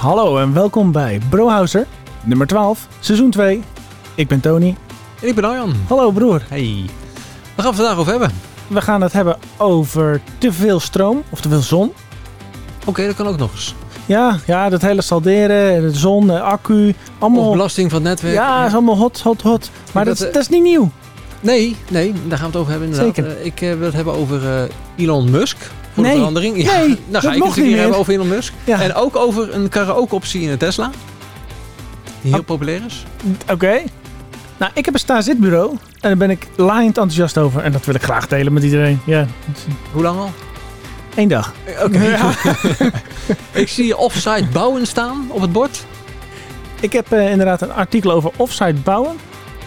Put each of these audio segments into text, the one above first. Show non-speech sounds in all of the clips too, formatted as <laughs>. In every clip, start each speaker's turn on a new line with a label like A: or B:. A: Hallo en welkom bij Brohouser, nummer 12, seizoen 2. Ik ben Tony.
B: En ik ben Arjan.
A: Hallo broer.
B: Hey. Waar gaan we vandaag over hebben?
A: We gaan het hebben over te veel stroom of te veel zon.
B: Oké, dat kan ook nog eens.
A: Ja, ja dat hele salderen, de zon, de accu,
B: Of
A: allemaal...
B: belasting van het netwerk.
A: Ja, is allemaal hot, hot, hot. Maar dat,
B: Dat,
A: is-
B: eh,
A: dat is niet nieuw.
B: Nee, nee, daar gaan we het over hebben inderdaad.
A: Zeker.
B: Eh, ik eh, wil het hebben over eh, Elon Musk. Voor
A: Nee.
B: de verandering. Ja, <laughs>
A: Nee,
B: nou
A: dat
B: ga
A: mocht
B: ik het
A: niet
B: natuurlijk
A: meer.
B: hebben over Elon Musk.
A: Ja.
B: En ook over een karaoke optie in een Tesla. Die
A: Ah.
B: heel populair is.
A: Oké. Nou, ik heb een sta-zitbureau en daar ben ik laaiend enthousiast over. En dat wil ik graag delen met iedereen. Ja,
B: Hoe lang al?
A: één dag.
B: Eh, Oké.
A: Ja.
B: <laughs> ik zie offsite bouwen staan op het bord.
A: Ik heb eh, inderdaad een artikel over offsite bouwen.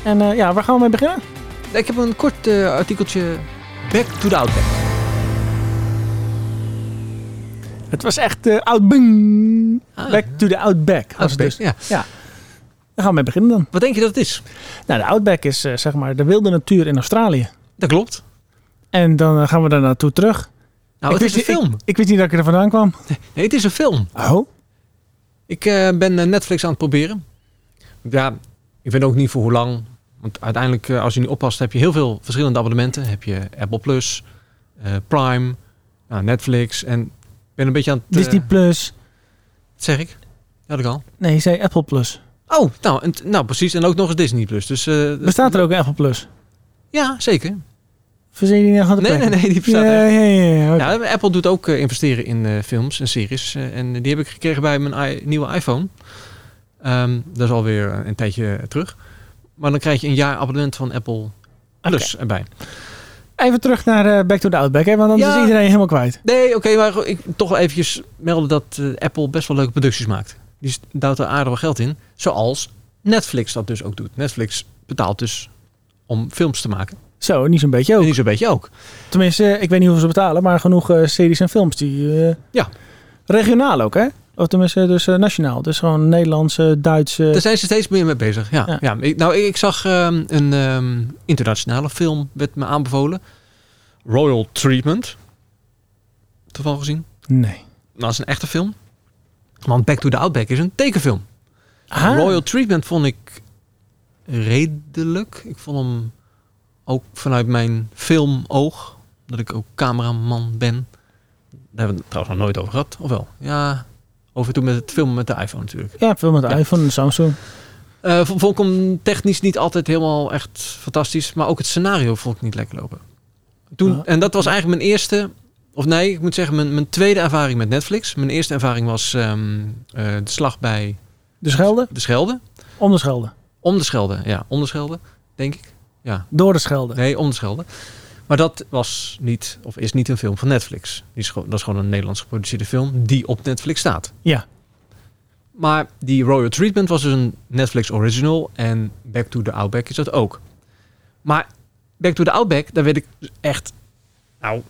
A: En eh, ja, waar gaan we mee beginnen?
B: Ik heb een kort eh, artikeltje. Back to the Outback.
A: Het was echt eh oud bing.
B: Ah,
A: Back to the Outback was het
B: Outback,
A: dus.
B: ja.
A: Daar gaan we mee beginnen dan.
B: Wat denk je dat het is?
A: Nou, de Outback is eh, zeg maar de wilde natuur in Australië.
B: Dat klopt.
A: En dan eh, gaan we daar naartoe terug.
B: Nou,
A: Ik
B: het is een
A: wist niet-
B: film.
A: Ik, ik wist niet dat ik er vandaan kwam.
B: Nee, het is een film.
A: Oh?
B: Ik eh, ben eh, Netflix aan het proberen. Ja, ik weet ook niet voor hoe lang. Want uiteindelijk, eh, als je niet oppast, heb je heel veel verschillende abonnementen. Heb je Apple Plus, eh, Prime, nou, Netflix. En ik ben een beetje aan het... eh,
A: Disney Plus.
B: wat zeg ik? Ja, dat al.
A: Nee, je zei Apple Plus.
B: Oh, nou, en, t- nou precies. En ook nog eens Disney Plus. Dus, eh,
A: Bestaat er ook een Apple Plus?
B: Ja, zeker.
A: Verzin je die nou
B: Nee, nee, nee, die bestaat
A: ja,
B: echt. Nou.
A: ja, ja, ja, oké.
B: Ja, Apple doet ook eh, investeren in eh, films en series. Eh, en die heb ik gekregen bij mijn i- nieuwe iPhone. Ehm, dat is alweer een tijdje eh, terug. Maar dan krijg je een jaar abonnement van Apple Plus erbij.
A: Even terug naar eh, Back to the Outback, hè, want anders
B: Ja.
A: is iedereen helemaal kwijt.
B: Nee, oké, maar goed, ik toch wel eventjes melden dat eh, Apple best wel leuke producties maakt. Die st- duwt er aardig wat geld in. Zoals Netflix dat dus ook doet. Netflix betaalt dus om films te maken.
A: Zo, niet zo'n beetje
B: En
A: ook.
B: die zo'n beetje ook.
A: Tenminste, eh, ik weet niet hoeveel ze betalen, maar genoeg eh, series en films die. eh,
B: Ja.
A: Regionaal ook, hè? Of tenminste, dus eh, nationaal. Dus gewoon Nederlandse, Duitse.
B: Daar zijn ze steeds meer mee bezig. Ja,
A: Ja.
B: ja. ik, nou, ik, ik zag ehm, een ehm, internationale film, werd me aanbevolen. Royal Treatment. Toevallig gezien.
A: Nee.
B: Nou, dat is een echte film. Want Back to the Outback is een tekenfilm.
A: Ah.
B: Royal Treatment vond ik redelijk. Ik vond hem ook vanuit mijn filmoog, dat ik ook cameraman ben. Daar hebben we het trouwens nog nooit over gehad, of wel? Ja, over toen met het filmen met de iPhone natuurlijk.
A: Ja, veel met de
B: Ja.
A: iPhone en Samsung.
B: Eh, v- vond ik hem technisch niet altijd helemaal echt fantastisch. Maar ook het scenario vond ik niet lekker lopen. Toen,
A: Ja.
B: En dat was eigenlijk mijn eerste... Of nee, ik moet zeggen, mijn, mijn tweede ervaring met Netflix. Mijn eerste ervaring was ehm, eh, de slag bij
A: De Schelde,
B: de Schelde.
A: om de Schelde.
B: Om de Schelde, ja. Om de Schelde, denk ik. Ja,
A: Door de Schelde.
B: nee, om de Schelde. Maar dat was niet, of is niet een film van Netflix. Die is, gewoon- dat is gewoon een Nederlands geproduceerde film die op Netflix staat.
A: Ja.
B: Maar die Royal Treatment was dus een Netflix original. En Back to the Outback is dat ook. Maar Back to the Outback, daar werd ik dus echt... Nou,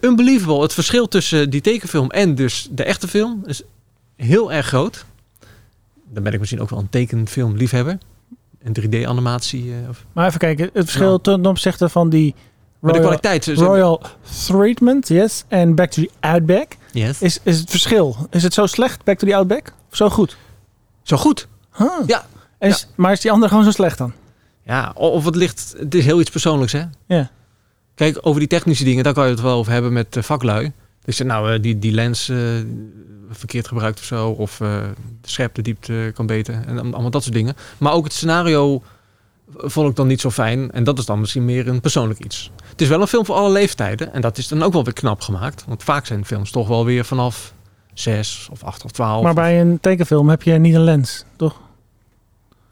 B: unbelievable. Het verschil tussen die tekenfilm en dus de echte film is heel erg groot. Dan ben ik misschien ook wel een tekenfilmliefhebber. En 3D-animatie. eh, of-
A: Maar even kijken, het verschil
B: Ja.
A: ten opzichte van die
B: maar de
A: Royal,
B: kwaliteit... Is,
A: Royal Treatment, yes, en Back to the Outback.
B: Yes.
A: Is, is het verschil? Is het zo slecht, Back to the Outback? Of zo goed?
B: Zo goed.
A: Huh.
B: Ja.
A: En Is, Maar is die andere gewoon zo slecht dan?
B: Ja, o- of het ligt... Het is heel iets persoonlijks, hè?
A: Ja.
B: Kijk, over die technische dingen, daar kan je het wel over hebben met eh, vaklui. Dus eh, nou, eh, die, die lens eh, verkeerd gebruikt of zo. Of eh, de scherpte, diepte kan beter. En am- allemaal dat soort dingen. Maar ook het scenario vond ik dan niet zo fijn. En dat is dan misschien meer een persoonlijk iets. Het is wel een film voor alle leeftijden. En dat is dan ook wel weer knap gemaakt. Want vaak zijn films toch wel weer vanaf zes of acht of twaalf.
A: Maar bij een tekenfilm heb je niet een lens, toch?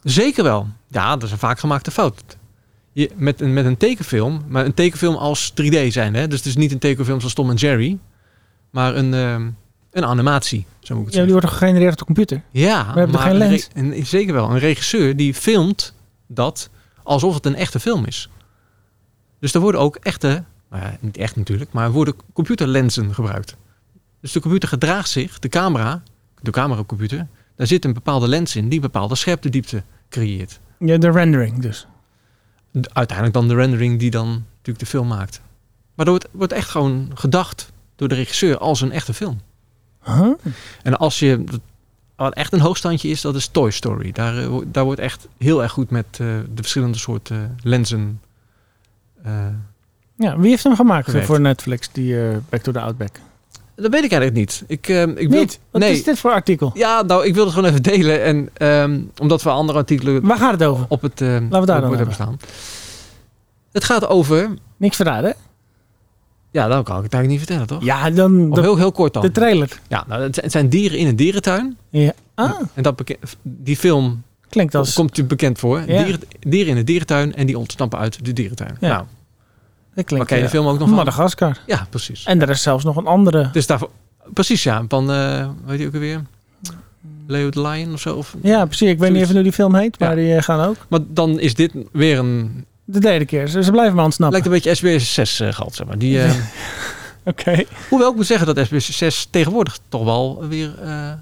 B: Zeker wel. Ja, dat is een vaak gemaakte fout. Je, met, een, met een tekenfilm, maar een tekenfilm als 3D zijn. Hè? Dus het is niet een tekenfilm zoals Tom en Jerry, maar een, ehm, een animatie, zo moet ik
A: Ja,
B: het
A: die
B: zeggen.
A: wordt toch gegenereerd op de computer?
B: Ja,
A: we hebben er geen
B: een re-
A: lens.
B: een- zeker wel. Een regisseur die filmt dat alsof het een echte film is. Dus er worden ook echte, nou ja, niet echt natuurlijk, maar er worden computerlenzen gebruikt. Dus de computer gedraagt zich, de camera, de cameracomputer, daar zit een bepaalde lens in die een bepaalde scherptediepte creëert.
A: Ja, de rendering dus.
B: De- uiteindelijk dan de rendering die dan natuurlijk de film maakt. Maar er wordt, wordt echt gewoon gedacht door de regisseur als een echte film.
A: Huh?
B: En als je, dat wat echt een hoogstandje is, dat is Toy Story. Daar, eh, wo- daar wordt echt heel erg goed met eh, de verschillende soorten lenzen. eh,
A: Ja, wie heeft hem gemaakt
B: Gewerkt.
A: voor Netflix, die eh, Back to the Outback?
B: dat weet ik eigenlijk niet. Ik, eh, ik wil-
A: Niet? Wat
B: nee.
A: is dit voor artikel?
B: Ja, nou, ik wilde het gewoon even delen. En ehm, omdat we andere artikelen
A: Waar gaat het over?
B: op het eh,
A: daar
B: op het
A: dan
B: bord hebben
A: over.
B: staan. Het gaat over...
A: Niks verraden, hè?
B: Ja, dat kan ik het eigenlijk niet vertellen, toch?
A: Ja, dan
B: Of
A: de,
B: heel, heel kort dan.
A: de trailer.
B: Ja, nou, het zijn- het zijn dieren in een dierentuin.
A: Ah,
B: En dat beke- die film
A: klinkt als...
B: komt u bekend voor.
A: Ja.
B: Dieren, dieren in de dierentuin en die ontsnappen uit de dierentuin.
A: Ja.
B: Nou,
A: dat
B: waar
A: klinkt,
B: ken je de
A: eh,
B: film ook nog van?
A: Madagaskar.
B: Ja, precies.
A: En er is zelfs nog een andere.
B: Dus daarvoor, precies ja, van, eh weet je ook alweer? Leo de Lion of zo. Of,
A: Ja, precies. Ik weet niet
B: Zoiets.
A: even hoe die film heet, maar
B: Ja.
A: die eh, gaan ook.
B: Maar dan is dit weer een...
A: De derde keer. Ze, ze blijven maar ontsnappen.
B: Lijkt een beetje SBS 6 eh, gehad, zeg maar. Die, eh,
A: Oké.
B: <laughs> hoewel ik moet zeggen dat SBS 6 tegenwoordig toch wel weer... eh,
A: Ja,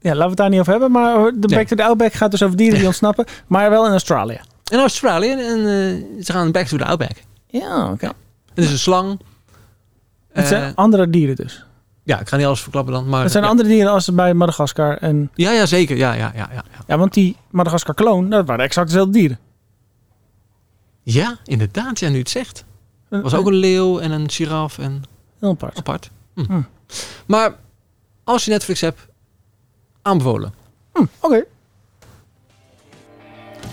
A: laten we het daar niet over hebben. Maar de
B: Nee.
A: Back to the Outback gaat dus over dieren die ontsnappen. Maar wel in Australië.
B: in Australië, en, eh, ze gaan back to the outback.
A: Ja, oké.
B: Het is een slang.
A: Het
B: Eh,
A: zijn andere dieren dus.
B: ja, ik ga niet alles verklappen dan. Maar,
A: Het zijn
B: ja.
A: andere dieren als bij Madagaskar. En,
B: Ja, ja, zeker. Ja, ja, ja, ja. ja.
A: ja, want die Madagaskar-kloon, dat waren exact dezelfde dieren.
B: Ja, inderdaad. Ja, nu het zegt. Er was ook een leeuw en een giraf en
A: Heel apart.
B: apart. Hm.
A: Hm.
B: Maar als je Netflix hebt, aanbevolen.
A: Hm, oké.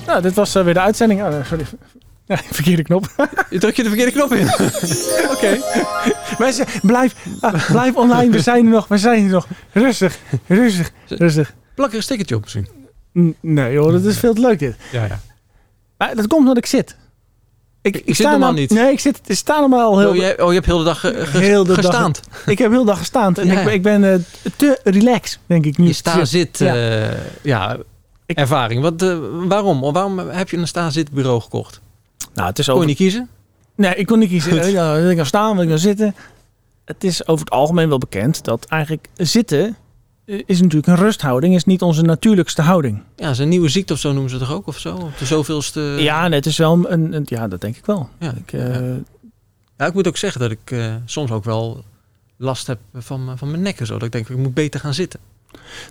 A: Nou, dit was eh, weer de uitzending. Oh, nee, sorry. <laughs> Ja, verkeerde knop.
B: Je drukt je de verkeerde knop in.
A: <laughs> Oké. Mensen, blijf, ah, blijf online. We zijn er nog. We zijn er nog. Rustig, rustig, rustig.
B: Plak er een stickertje op misschien.
A: N- Nee hoor, dat is veel te leuk dit.
B: Ja, ja.
A: Maar dat komt omdat ik zit. Ik,
B: Ik zit
A: sta
B: normaal
A: nou-
B: niet.
A: Nee, ik zit, ik sta normaal al heel...
B: oh, je, oh, je hebt heel de dag ge, ge-
A: Heel de dag.
B: gestaand.
A: Ik heb heel de dag gestaan. En
B: Ja,
A: ik,
B: ja.
A: ben- ik ben eh, te relaxed, denk ik nu.
B: Je sta-zit
A: Ja.
B: eh, ja,
A: Ik-
B: ervaring. Wat, eh, waarom? Waarom heb je een sta-zit bureau gekocht?
A: Nou, het is
B: Kon je
A: over...
B: niet kiezen?
A: Nee, ik kon niet kiezen. Eh, ja, wil ik nou staan, wil ik nou zitten? Het is over het algemeen wel bekend dat eigenlijk zitten eh, is natuurlijk een rusthouding. Is niet onze natuurlijkste houding.
B: Ja, is een nieuwe ziekte of zo noemen ze het toch ook? Of zo? Op de zoveelste...
A: ja, nee, het is wel een, een- Ja, dat denk ik wel.
B: Ja.
A: Ik, eh,
B: Eh. Ja. Ja, ik moet ook zeggen dat ik eh, soms ook wel last heb van, mijn- van mijn nek en zo. Dat ik denk, ik moet beter gaan zitten.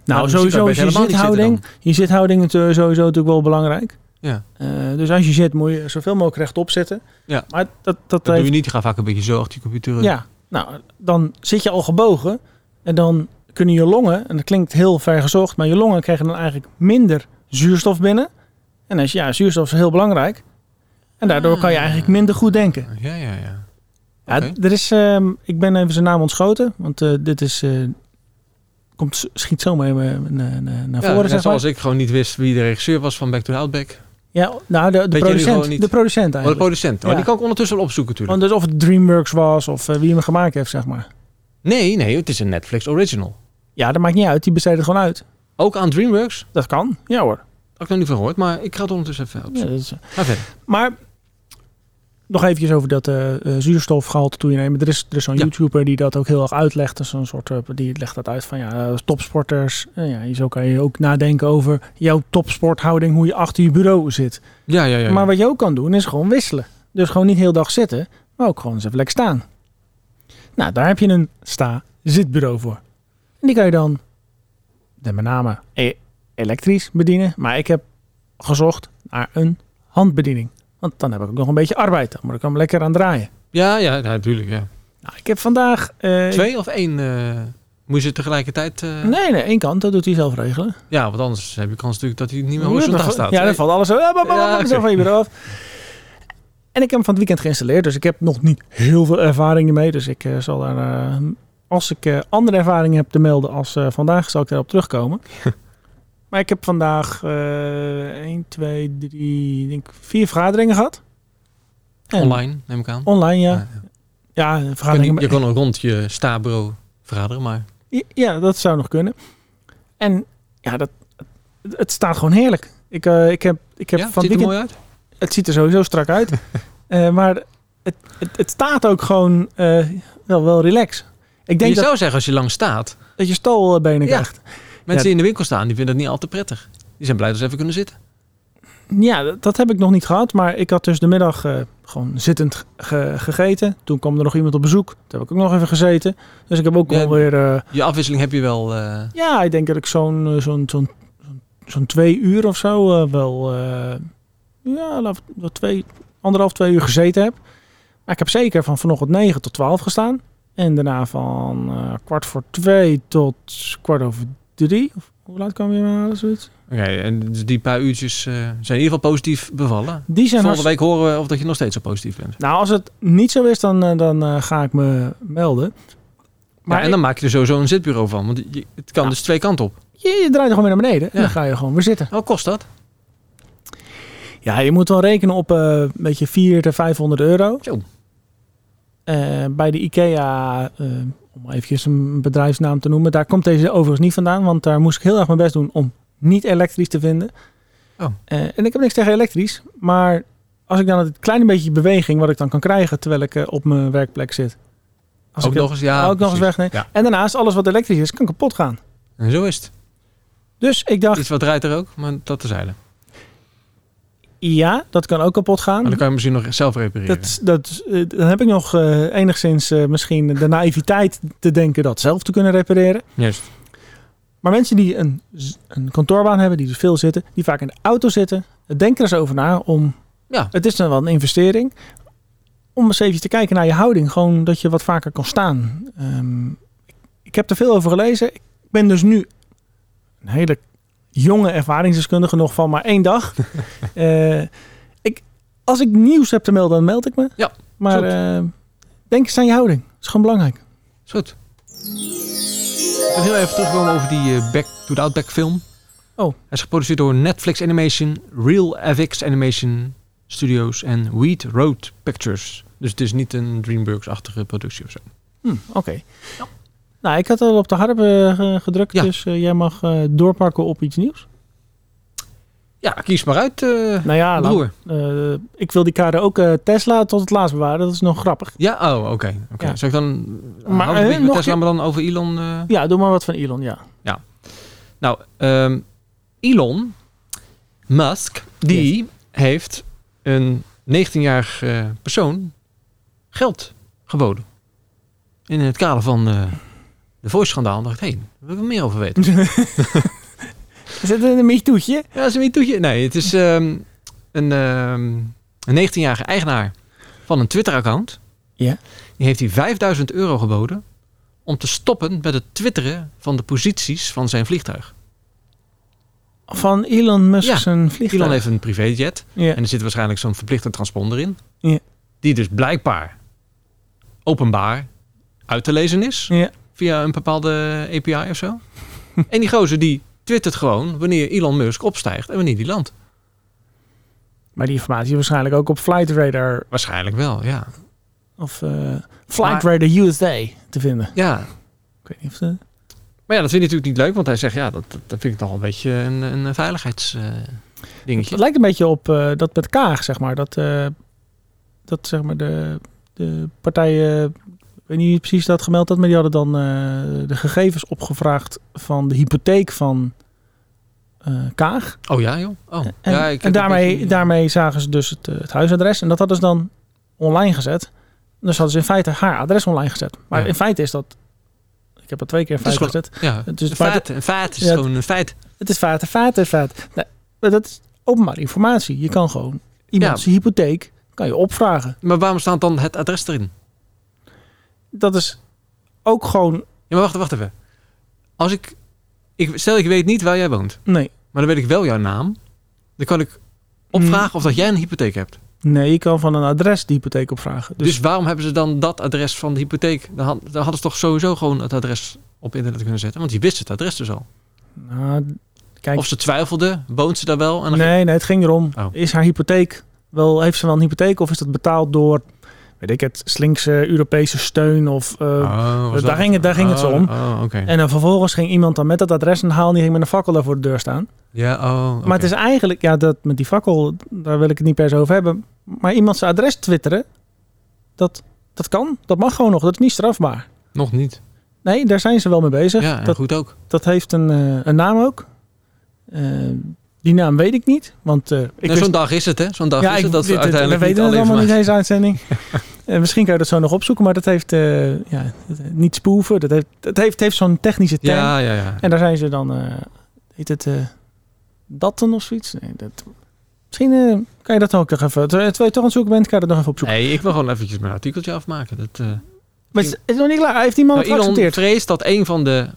A: Nou,
B: Maar
A: sowieso
B: dan
A: is
B: zit je
A: je
B: helemaal niet zitten
A: zithouding, je zithouding is eh, sowieso natuurlijk wel belangrijk.
B: Ja.
A: Eh, dus als je zit, moet je zoveel mogelijk rechtop zitten.
B: Ja.
A: Maar dat, dat,
B: Dat doe
A: heeft-
B: je niet. Je gaat vaak een beetje zo achter je computer.
A: Ja, nou, dan zit je al gebogen en dan kunnen je longen, en dat klinkt heel ver gezocht, maar je longen krijgen dan eigenlijk minder zuurstof binnen. En als je, ja, zuurstof is heel belangrijk. En daardoor kan je eigenlijk minder goed denken.
B: Ja, ja, ja.
A: Ja,
B: Ah. Oké.
A: er is, ehm, ik ben even zijn naam ontschoten, want eh, dit is, eh, komt, schiet zomaar even naar, naar, naar
B: Ja,
A: voren.
B: net
A: Zeg maar.
B: zoals ik gewoon niet wist wie de regisseur was van Back to the Outback. Oh,
A: Ja, nou, de, de
B: jullie
A: producent.
B: gewoon niet?
A: De producent
B: Oh, de
A: eigenlijk.
B: producent. Oh,
A: Ja.
B: die kan ik ondertussen wel opzoeken natuurlijk.
A: Want dus of het DreamWorks was of eh, wie hem gemaakt heeft, zeg maar.
B: Nee, nee. Het is een Netflix original.
A: Ja, dat maakt niet uit. Die besteedt het gewoon uit.
B: Ook aan DreamWorks. Daar
A: Dat kan. Ja hoor.
B: heb ik nog niet van gehoord. Maar ik ga het ondertussen even
A: Ja,
B: opzoeken.
A: dat is- eh,
B: Ga verder.
A: Maar nog eventjes over dat eh eh, zuurstofgehalte toenemen. Er is, er is zo'n
B: Ja.
A: YouTuber die dat ook heel erg uitlegt. Dat is een soort, eh, die legt dat uit van ja, eh, topsporters. Eh, ja, zo kan je ook nadenken over jouw topsporthouding, hoe je achter je bureau zit.
B: Ja, ja, ja. ja.
A: Maar wat je ook kan doen is gewoon wisselen. Dus gewoon niet heel dag zitten, maar ook gewoon eens even lekker staan. Nou, daar heb je een sta-zitbureau voor. En die kan je dan de- met name e- elektrisch bedienen. Maar ik heb gezocht naar een handbediening. Want dan heb ik ook nog een beetje arbeid. Dan moet ik hem lekker aan draaien.
B: Ja, ja. ja, Natuurlijk, ja.
A: Nou, ik heb vandaag... eh,
B: Twee of één... eh, moet je ze tegelijkertijd... eh,
A: Nee, nee, één kant. Dat doet hij zelf regelen.
B: Ja, want anders heb je kans natuurlijk dat hij niet meer
A: Ja,
B: horizontaal
A: dan-
B: staat.
A: Ja, dan valt alles zo, ja, bam, bam,
B: Ja,
A: bam,
B: oké.
A: zo van je bureau af. En ik heb hem van het weekend geïnstalleerd, dus ik heb nog niet heel veel ervaring mee. Dus ik eh, zal daar, eh, als ik eh, andere ervaringen heb te melden als eh, vandaag, zal ik daarop
B: <laughs>
A: terugkomen. maar ik heb vandaag eh 1, 2, 3, ik denk vier vergaderingen gehad. En-
B: Online, neem ik aan.
A: Online, ja.
B: Ja,
A: Ja,
B: Je kan,
A: vergaderingen.
B: niet- je kan ook rond je stabureau vergaderen, maar
A: Ja, dat zou nog kunnen. En ja, dat, het, het staat gewoon heerlijk. Ik, eh, ik heb, ik heb
B: ja,
A: van het
B: ziet er
A: weekend
B: mooi uit.
A: Het ziet er sowieso strak uit. Eh, maar het, het, het staat ook gewoon eh, wel, wel relaxed. Ik
B: Je
A: denk dat,
B: zou zeggen als je lang staat,
A: dat je stalbenen
B: Ja.
A: krijgt.
B: mensen die in de winkel staan, die vinden dat niet al te prettig. Die zijn blij dat ze even kunnen zitten.
A: Ja, dat, dat heb ik nog niet gehad. Maar ik had dus de middag eh, gewoon zittend ge- gegeten. Toen kwam er nog iemand op bezoek. Toen heb ik ook nog even gezeten. Dus ik heb ook
B: Ja.
A: alweer... eh,
B: Je afwisseling heb je wel. eh,
A: ja, ik denk dat ik zo'n eh, zo'n zo'n zo'n- zo'n twee uur of zo eh, wel... eh, ja, laat- wel twee, anderhalf, twee uur gezeten heb. Maar ik heb zeker van vanochtend negen tot twaalf gestaan. En daarna van eh, kwart voor twee tot kwart over drie. Of hoe laat kwam je me halen, zoiets?
B: Oké, en dus die paar uurtjes eh, zijn in ieder geval positief bevallen.
A: Die zijn
B: Volgende week horen we of dat je nog steeds zo positief bent.
A: Nou, als het niet zo is, dan, eh, dan eh, ga ik me melden. Maar
B: Maar en dan maak je er sowieso een zitbureau van. Want je- het kan
A: Ja.
B: dus twee kanten op.
A: ik- je, je draait er gewoon weer naar beneden en
B: Ja.
A: dan ga je gewoon weer zitten.
B: Wat kost dat?
A: Ja, je moet wel rekenen op eh, een beetje 400 tot 500 euro.
B: Zo.
A: Eh, bij de IKEA, eh, om eventjes een bedrijfsnaam te noemen, daar komt deze overigens niet vandaan. Want daar moest ik heel erg mijn best doen om niet elektrisch te vinden.
B: Oh.
A: Eh, en ik heb niks tegen elektrisch, maar als ik dan het kleine beetje beweging wat ik dan kan krijgen terwijl ik eh, op mijn werkplek zit. Als
B: ook
A: ik
B: nog eens, ja.
A: ook nog eens
B: precies.
A: wegnemen.
B: Ja.
A: En daarnaast, alles wat elektrisch is, kan kapot gaan.
B: En zo is het.
A: Dus ik dacht,
B: Iets wat draait er ook, maar dat terzijde.
A: ja, dat kan ook kapot gaan.
B: Maar dan kan je misschien nog zelf repareren.
A: Dat, dat, eh, dan heb ik nog eh, enigszins eh, misschien de naïviteit te denken dat zelf te kunnen repareren.
B: Juist.
A: Maar mensen die een, z- een kantoorbaan hebben, die dus veel zitten, die vaak in de auto zitten, denk er eens over na om.
B: Ja.
A: Het is dan wel een investering. Om eens even te kijken naar je houding. Gewoon dat je wat vaker kan staan. Ehm, ik- ik heb er veel over gelezen. Ik ben dus nu een hele jonge ervaringsdeskundige nog van maar één
B: <laughs>
A: dag. Eh, ik, als ik nieuws heb te melden, dan meld ik me.
B: Ja,
A: maar
B: goed.
A: eh, denk eens aan je houding. Dat is gewoon belangrijk.
B: Is goed. Ik wil heel even terugkomen over die eh, Back to the Outback film.
A: Oh.
B: Hij is geproduceerd door Netflix Animation, Real FX Animation Studios en Wheat Road Pictures. Dus het is niet een DreamWorks-achtige productie of zo.
A: Hm, Oké. Nou, ik had al op de harp eh, ge- gedrukt,
B: Ja.
A: dus eh, jij mag eh, doorpakken op iets nieuws.
B: Ja, kies maar uit, eh,
A: Nou ja, laat-
B: broer.
A: eh, ik wil die kader ook eh, Tesla tot het laatst bewaren. Dat is nog grappig.
B: Ja, oh, oké. oké.
A: Ja.
B: Zal ik dan...
A: Maar,
B: Maar, een
A: eh,
B: beetje met
A: nog
B: Tesla,
A: een-
B: maar dan over Elon... eh,
A: Ja, doe maar wat van Elon, ja.
B: Nou, ehm, Elon Musk, die heeft een 19-jarig eh, persoon geld geboden. In het kader van eh, de voice-schandaal dacht ik, hé, daar wil ik meer over weten.
A: Is het een meetoetje?
B: ja, dat is een mitoetje. Nee, het is ehm, een, ehm, een 19-jarige eigenaar van een Twitter-account.
A: Ja.
B: Die heeft hij 5000 euro geboden om te stoppen met het twitteren van de posities van zijn vliegtuig.
A: Van Elon Musk
B: Ja,
A: zijn vliegtuig.
B: Elon heeft een privéjet.
A: Ja.
B: En er zit waarschijnlijk zo'n verplichte transponder in.
A: Ja.
B: Die dus blijkbaar openbaar uit te lezen is.
A: Ja.
B: Via een bepaalde API of zo. en die gozer die twittert gewoon wanneer Elon Musk opstijgt en wanneer die landt.
A: Maar die informatie is waarschijnlijk ook op Flight Radar
B: Waarschijnlijk wel, ja.
A: of eh, Flight Radar USA te vinden.
B: Ja.
A: Ik weet niet of ze...
B: Maar ja, dat vind ik natuurlijk niet leuk. Want hij zegt, ja, dat, dat- dat vind ik toch een beetje een, een veiligheidsdingetje.
A: Het lijkt een beetje op eh, dat met Kaag, zeg maar. Dat, eh, dat zeg maar de, de partijen, ik weet niet precies dat gemeld had, maar die hadden dan eh, de gegevens opgevraagd van de hypotheek van eh, Kaag.
B: oh ja, joh. Oh.
A: En,
B: ja, ik
A: en
B: heb een
A: daarmee,
B: beetje-
A: daarmee zagen ze dus het, eh, het huisadres. En dat hadden ze dan online gezet. Dus hadden ze in feite haar adres online gezet. Maar
B: Ja.
A: in feite is dat... Ik heb dat twee keer in
B: Het is
A: feite gezet.
B: Ja,
A: het is-
B: een
A: maar
B: feit. Een feit is
A: Ja, het-
B: gewoon een feit.
A: Het is feite, feite, feite. Nee, maar dat is openbare informatie. Je kan gewoon iemands hypotheek kan je opvragen.
B: Maar waarom staat dan het adres erin?
A: Dat is ook gewoon...
B: Ja, maar wacht, wacht even. Als ik, ik... Stel, ik weet niet waar jij woont.
A: Nee,
B: Maar dan weet ik wel jouw naam. Dan kan ik
A: Mm.
B: opvragen of dat jij een hypotheek hebt.
A: nee je kan van een adres de hypotheek opvragen.
B: Dus,
A: Dus,
B: waarom hebben ze dan dat adres van de hypotheek? Dan, had- dan hadden ze toch sowieso gewoon het adres op internet kunnen zetten. Want je wist het adres dus al.
A: nou, kijk,
B: Of ze twijfelde, woont ze daar wel? En dan
A: nee, nee, het ging erom.
B: Oh.
A: Is haar hypotheek wel, heeft ze wel een hypotheek of is dat betaald door, weet ik het, slinkse Europese steun of. eh,
B: Oh, was
A: daar
B: dat-
A: ging het- daar ging het zo
B: Oh,
A: om.
B: Oh, oké.
A: En dan vervolgens ging iemand dan met dat adres en halen die ging met een fakkel daar voor de deur staan.
B: Ja, oh, oké.
A: Maar het is eigenlijk, ja, dat met die fakkel, daar wil ik het niet per se over hebben. Maar iemand zijn adres twitteren, dat, dat kan, dat mag gewoon nog, dat is niet strafbaar.
B: Nog niet.
A: Nee, daar zijn ze wel mee bezig.
B: Ja, en
A: dat,
B: goed ook.
A: dat heeft een, eh, een naam ook. Eh, Die naam weet ik niet, want eh, ik
B: Nou,
A: wist-
B: Zo'n dag is het, hè? Zo'n dag
A: ja,
B: is
A: ik-
B: het dat we
A: dit-
B: uiteindelijk
A: we weten
B: niet
A: het
B: alle
A: allemaal niet
B: informatie...
A: deze
B: <laughs>
A: uitzending. Eh, misschien kan je dat zo nog opzoeken, maar dat heeft eh, ja, dat- niet spoeven. Dat heeft, dat heeft, heeft zo'n technische term.
B: Ja, ja, ja.
A: En daar zijn ze dan, eh heet het eh datten of zoiets? Nee, dat, misschien eh, kan je dat ook nog even, terwijl je toch aan het zoeken bent, kan je dat nog even opzoeken.
B: Nee, ik wil gewoon eventjes mijn artikeltje afmaken. Dat, eh
A: maar het is, het is nog niet klaar, Hij heeft die man
B: nou,
A: het
B: Elon
A: geaccepteerd?
B: vreest dat een van de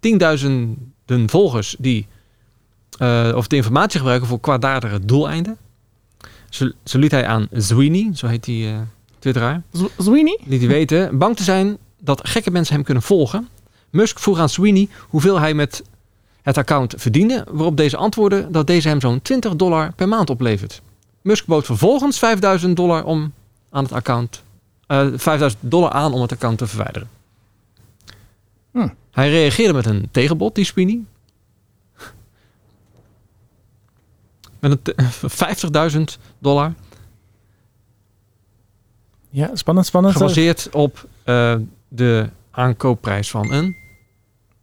B: tienduizenden volgers die eh, of de informatie gebruiken voor kwaadaardige doeleinden. Zo, zo liet hij aan Zweeney, zo heet die eh twitteraar,
A: Z- Zweeney?
B: liet hij weten bang te zijn dat gekke mensen hem kunnen volgen. Musk vroeg aan Sweeney hoeveel hij met het account verdiende, waarop deze antwoordde dat deze hem zo'n 20 dollar per maand oplevert. Musk bood vervolgens 5000 dollar om aan het account, eh, 5000 dollar aan om het account te verwijderen.
A: Hm.
B: Hij reageerde met een tegenbod, die Sweeney. Met <laughs> een te- 50.000 dollar
A: Ja, spannend, spannend.
B: gebaseerd op eh, de aankoopprijs van een
A: <laughs>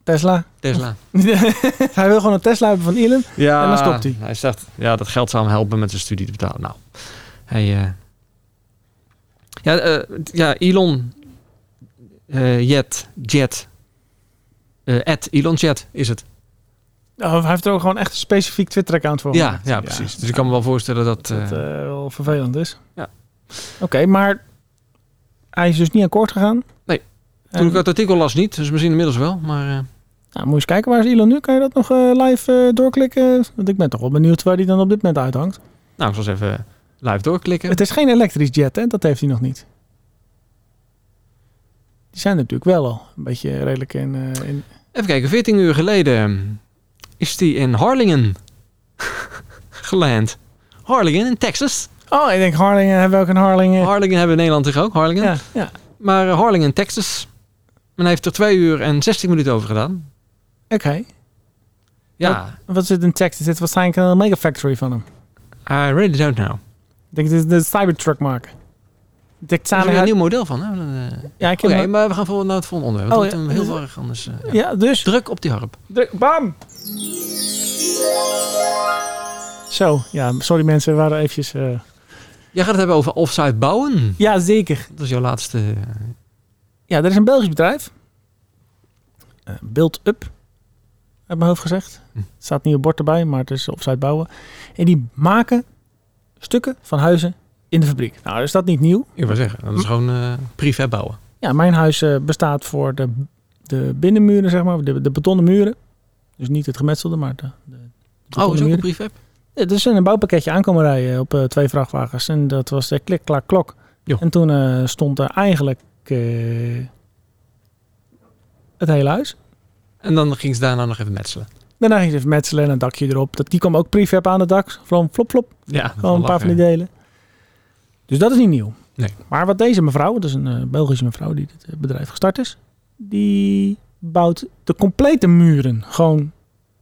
A: Tesla.
B: Tesla.
A: hij wil gewoon een Tesla hebben van Elon.
B: Ja,
A: En dan stopt hij.
B: Hij zegt, ja, dat geld zou hem helpen met zijn studie te betalen. Nou, hij... eh, ja, eh, ja, Elon eh, Jet, Jet, eh, at Elon Jet is het.
A: Oh, hij heeft er ook gewoon echt een specifiek Twitter-account voor.
B: Ja,
A: gemaakt.
B: ja, precies. Dus ik kan me wel voorstellen dat...
A: Dat
B: eh,
A: het wel vervelend is.
B: Ja.
A: Oké, maar hij is dus niet akkoord gegaan.
B: Nee.
A: En-
B: toen ik het artikel las niet, dus misschien inmiddels wel. Maar eh,
A: Nou, moet je eens kijken waar is Elon nu? Kan je dat nog eh, live eh, doorklikken? Want ik ben toch wel benieuwd waar die dan op dit moment uithangt.
B: nou, ik zal eens even live doorklikken.
A: Het is geen elektrisch jet, hè? Dat heeft hij nog niet. Die zijn er natuurlijk wel al. Een beetje redelijk in... eh, in...
B: Even kijken, 14 uur geleden is hij in Harlingen <laughs> geland. Harlingen in Texas.
A: Oh, ik denk Harlingen. Hebben we ook een Harlingen?
B: Harlingen hebben we in Nederland toch ook, Harlingen?
A: ja, ja.
B: Maar eh, Harlingen, Texas. Men heeft er twee uur en 16 minuten over gedaan.
A: Oké.
B: Ja,
A: Wat zit in tekst? Is dit waarschijnlijk een megafactory van hem?
B: I really don't know.
A: Ik denk dit is de Cybertruck maken. Ik denk
B: Er is
A: samen...
B: weer een nieuw model van. hè? Eh,
A: Ja, ik
B: Oké,
A: heb hem-
B: maar we gaan voor naar het volgende onderwerp.
A: Oh,
B: Want het
A: ja.
B: wordt hem heel erg anders. eh, ja.
A: Ja, dus...
B: Druk op die harp.
A: De, bam! Zo, ja, sorry mensen, we waren eventjes... eh,
B: Jij gaat het hebben over offsite bouwen.
A: Ja, zeker.
B: Dat is jouw laatste... eh,
A: Ja, er is een Belgisch bedrijf. Eh, Build Up, uit mijn hoofd gezegd.
B: Hm.
A: staat niet op bord erbij, maar het is opzij bouwen. En die maken stukken van huizen in de fabriek. Nou, is dat niet nieuw?
B: ik wil zeggen, dat is gewoon eh prefab bouwen.
A: Ja, mijn huis eh, bestaat voor de, de binnenmuren, zeg maar, de, de betonnen muren. Dus niet het gemetselde, maar de, de
B: Oh, is
A: betonnen
B: ook een
A: muren.
B: prefab?
A: Ja, Er is een bouwpakketje aankomen rijden op eh, twee vrachtwagens. En dat was de klik, klak, klok.
B: Jo.
A: En toen eh, stond er eigenlijk eh, het hele huis.
B: En dan ging ze daarna nog even metselen.
A: Daarna ging ze even metselen en een dakje erop. Dat, die kwam ook prefab aan het dak. Gewoon flop, flop.
B: Ja,
A: Gewoon een paar van die delen. Dus dat is niet nieuw.
B: Nee.
A: Maar wat deze mevrouw, dat is een eh, Belgische mevrouw die dit eh, bedrijf gestart is. Die bouwt de complete muren. Gewoon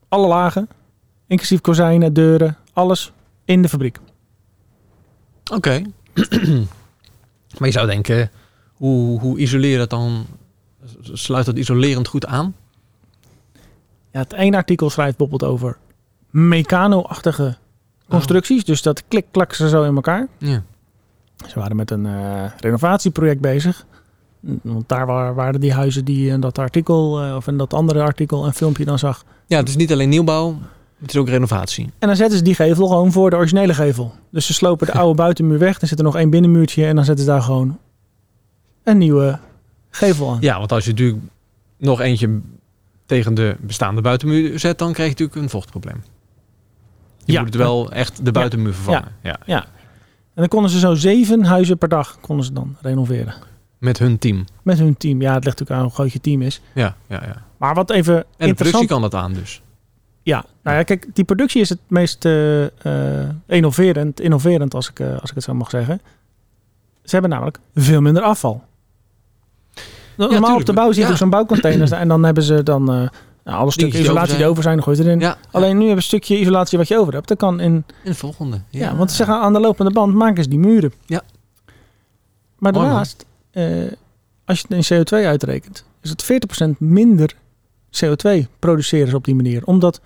A: alle lagen. Inclusief kozijnen, deuren, alles in de fabriek.
B: Oké. <clears throat> maar je zou denken, hoe, hoe isoleer je dat dan? Sluit dat isolerend goed aan?
A: Ja, het ene artikel schrijft bijvoorbeeld over mecano-achtige
B: Oh.
A: constructies. Dus dat klik klak ze zo in elkaar.
B: Ja.
A: Ze waren met een eh, renovatieproject bezig. Mm, Want daar wa- waren die huizen die in dat artikel eh, of in dat andere artikel een filmpje dan zag.
B: Ja, het is niet alleen nieuwbouw, het is ook renovatie.
A: En dan zetten ze die gevel gewoon voor de originele gevel. Dus ze
B: <laughs>
A: slopen de oude buitenmuur weg. Dan zit er nog één binnenmuurtje. En dan zetten ze daar gewoon een nieuwe gevel aan.
B: Ja, want als je natuurlijk nog eentje tegen de bestaande buitenmuur zet, dan krijg je natuurlijk een vochtprobleem. Je
A: Ja.
B: moet het wel echt de buitenmuur vervangen. Ja.
A: En dan konden ze zo zeven huizen per dag konden ze dan renoveren.
B: Met hun team.
A: Met hun team. Ja, het ligt natuurlijk aan hoe groot je team is.
B: Ja, ja, ja.
A: Maar wat even
B: En de productie
A: interessant...
B: kan dat aan dus.
A: Ja, nou ja, kijk, die productie is het meest eh, eh, innoverend, innoverend als, ik, eh, als ik het zo mag zeggen. Ze hebben namelijk veel minder afval. Normaal op
B: tuurlijk.
A: de bouw zie je
B: Ja.
A: ook zo'n bouwcontainer staan en dan hebben ze dan eh nou, alle stukken
B: die over
A: isolatie die
B: zijn.
A: over zijn, gooi je erin.
B: Ja,
A: Alleen nu hebben ze een stukje isolatie wat je over hebt. Dat kan in,
B: en de volgende. Ja,
A: ja, want ze zeggen aan de lopende band maken ze die muren.
B: Ja.
A: Maar
B: Mooi,
A: daarnaast, eh, als je het in CO2 uitrekent, is het 40% minder CO2 produceren ze op die manier. Omdat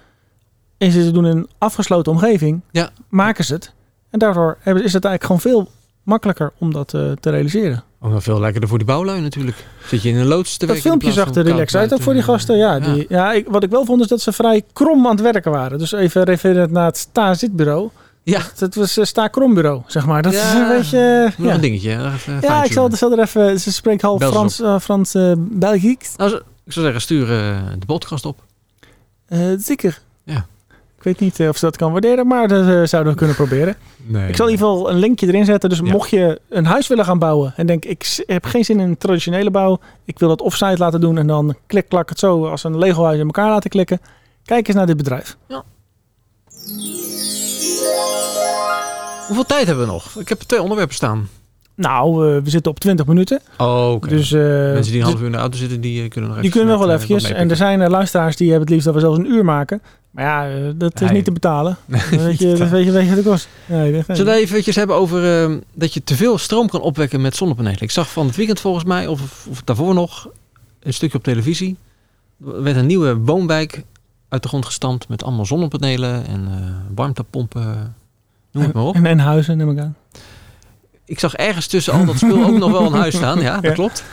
A: is het te doen in een afgesloten omgeving.
B: Ja.
A: Maken ze het. En daardoor hebben- is het eigenlijk gewoon veel makkelijker om dat eh, te realiseren.
B: Ook nog veel lekkerder voor die bouwlui natuurlijk. Zit je in een loods te
A: Dat
B: werken in
A: filmpje
B: plaats
A: zag er
B: van koud
A: relaxed uit ook
B: buiten.
A: voor die gasten. Ja, Die, ja ik, wat ik wel vond is dat ze vrij krom aan het werken waren. Dus even refererend naar het sta-zitbureau.
B: Ja.
A: Dat was eh, sta-krombureau, zeg maar. Dat is
B: Ja.
A: een beetje... eh,
B: Moet nog
A: ja.
B: een dingetje. hè? Even
A: Ja, ik
B: fine-tunen.
A: zal, zal er even. Ze spreekt half
B: Bel ze
A: Frans, eh Frans eh Belgisch.
B: Nou, z- ik zou zeggen, stuur eh, de podcast op.
A: Eh, zeker.
B: Ja.
A: Ik weet niet eh, of ze dat kan waarderen, maar dat eh, zouden we kunnen proberen.
B: Nee.
A: Ik zal in ieder geval een linkje erin zetten. Dus
B: Ja.
A: mocht je een huis willen gaan bouwen en denk ik s- heb geen zin in een traditionele bouw, ik wil dat offsite laten doen en dan klik klak het zo als een Lego huis in elkaar laten klikken. Kijk eens naar dit bedrijf.
B: Hoeveel tijd hebben we nog? Ik heb twee onderwerpen staan.
A: Nou, eh, we zitten op 20 minuten.
B: Oh,
A: Dus, eh,
B: Mensen die een
A: dus
B: half uur in de auto zitten, die eh, kunnen nog
A: die
B: even
A: kunnen nog
B: met,
A: wel
B: eh, wat
A: eventjes. En er
B: meepikken.
A: zijn eh, luisteraars die hebben het liefst dat we zelfs een uur maken. Maar ja, eh, dat is
B: Nee.
A: niet te
B: <laughs>
A: betalen. Dat weet je,
B: niet te
A: dat weet je, weet je wat het kost. Nee, dat-
B: Zullen we eventjes hebben over eh, dat je te veel stroom kan opwekken met zonnepanelen? Ik zag van het weekend volgens mij, of, of daarvoor nog, een stukje op televisie. Er werd een nieuwe woonwijk uit de grond gestampt met allemaal zonnepanelen en eh, warmtepompen. Noem het maar op.
A: En, en huizen, neem ik aan.
B: Ik zag ergens tussen al dat spul ook nog wel een huis staan. Ja, dat
A: Ja.
B: klopt.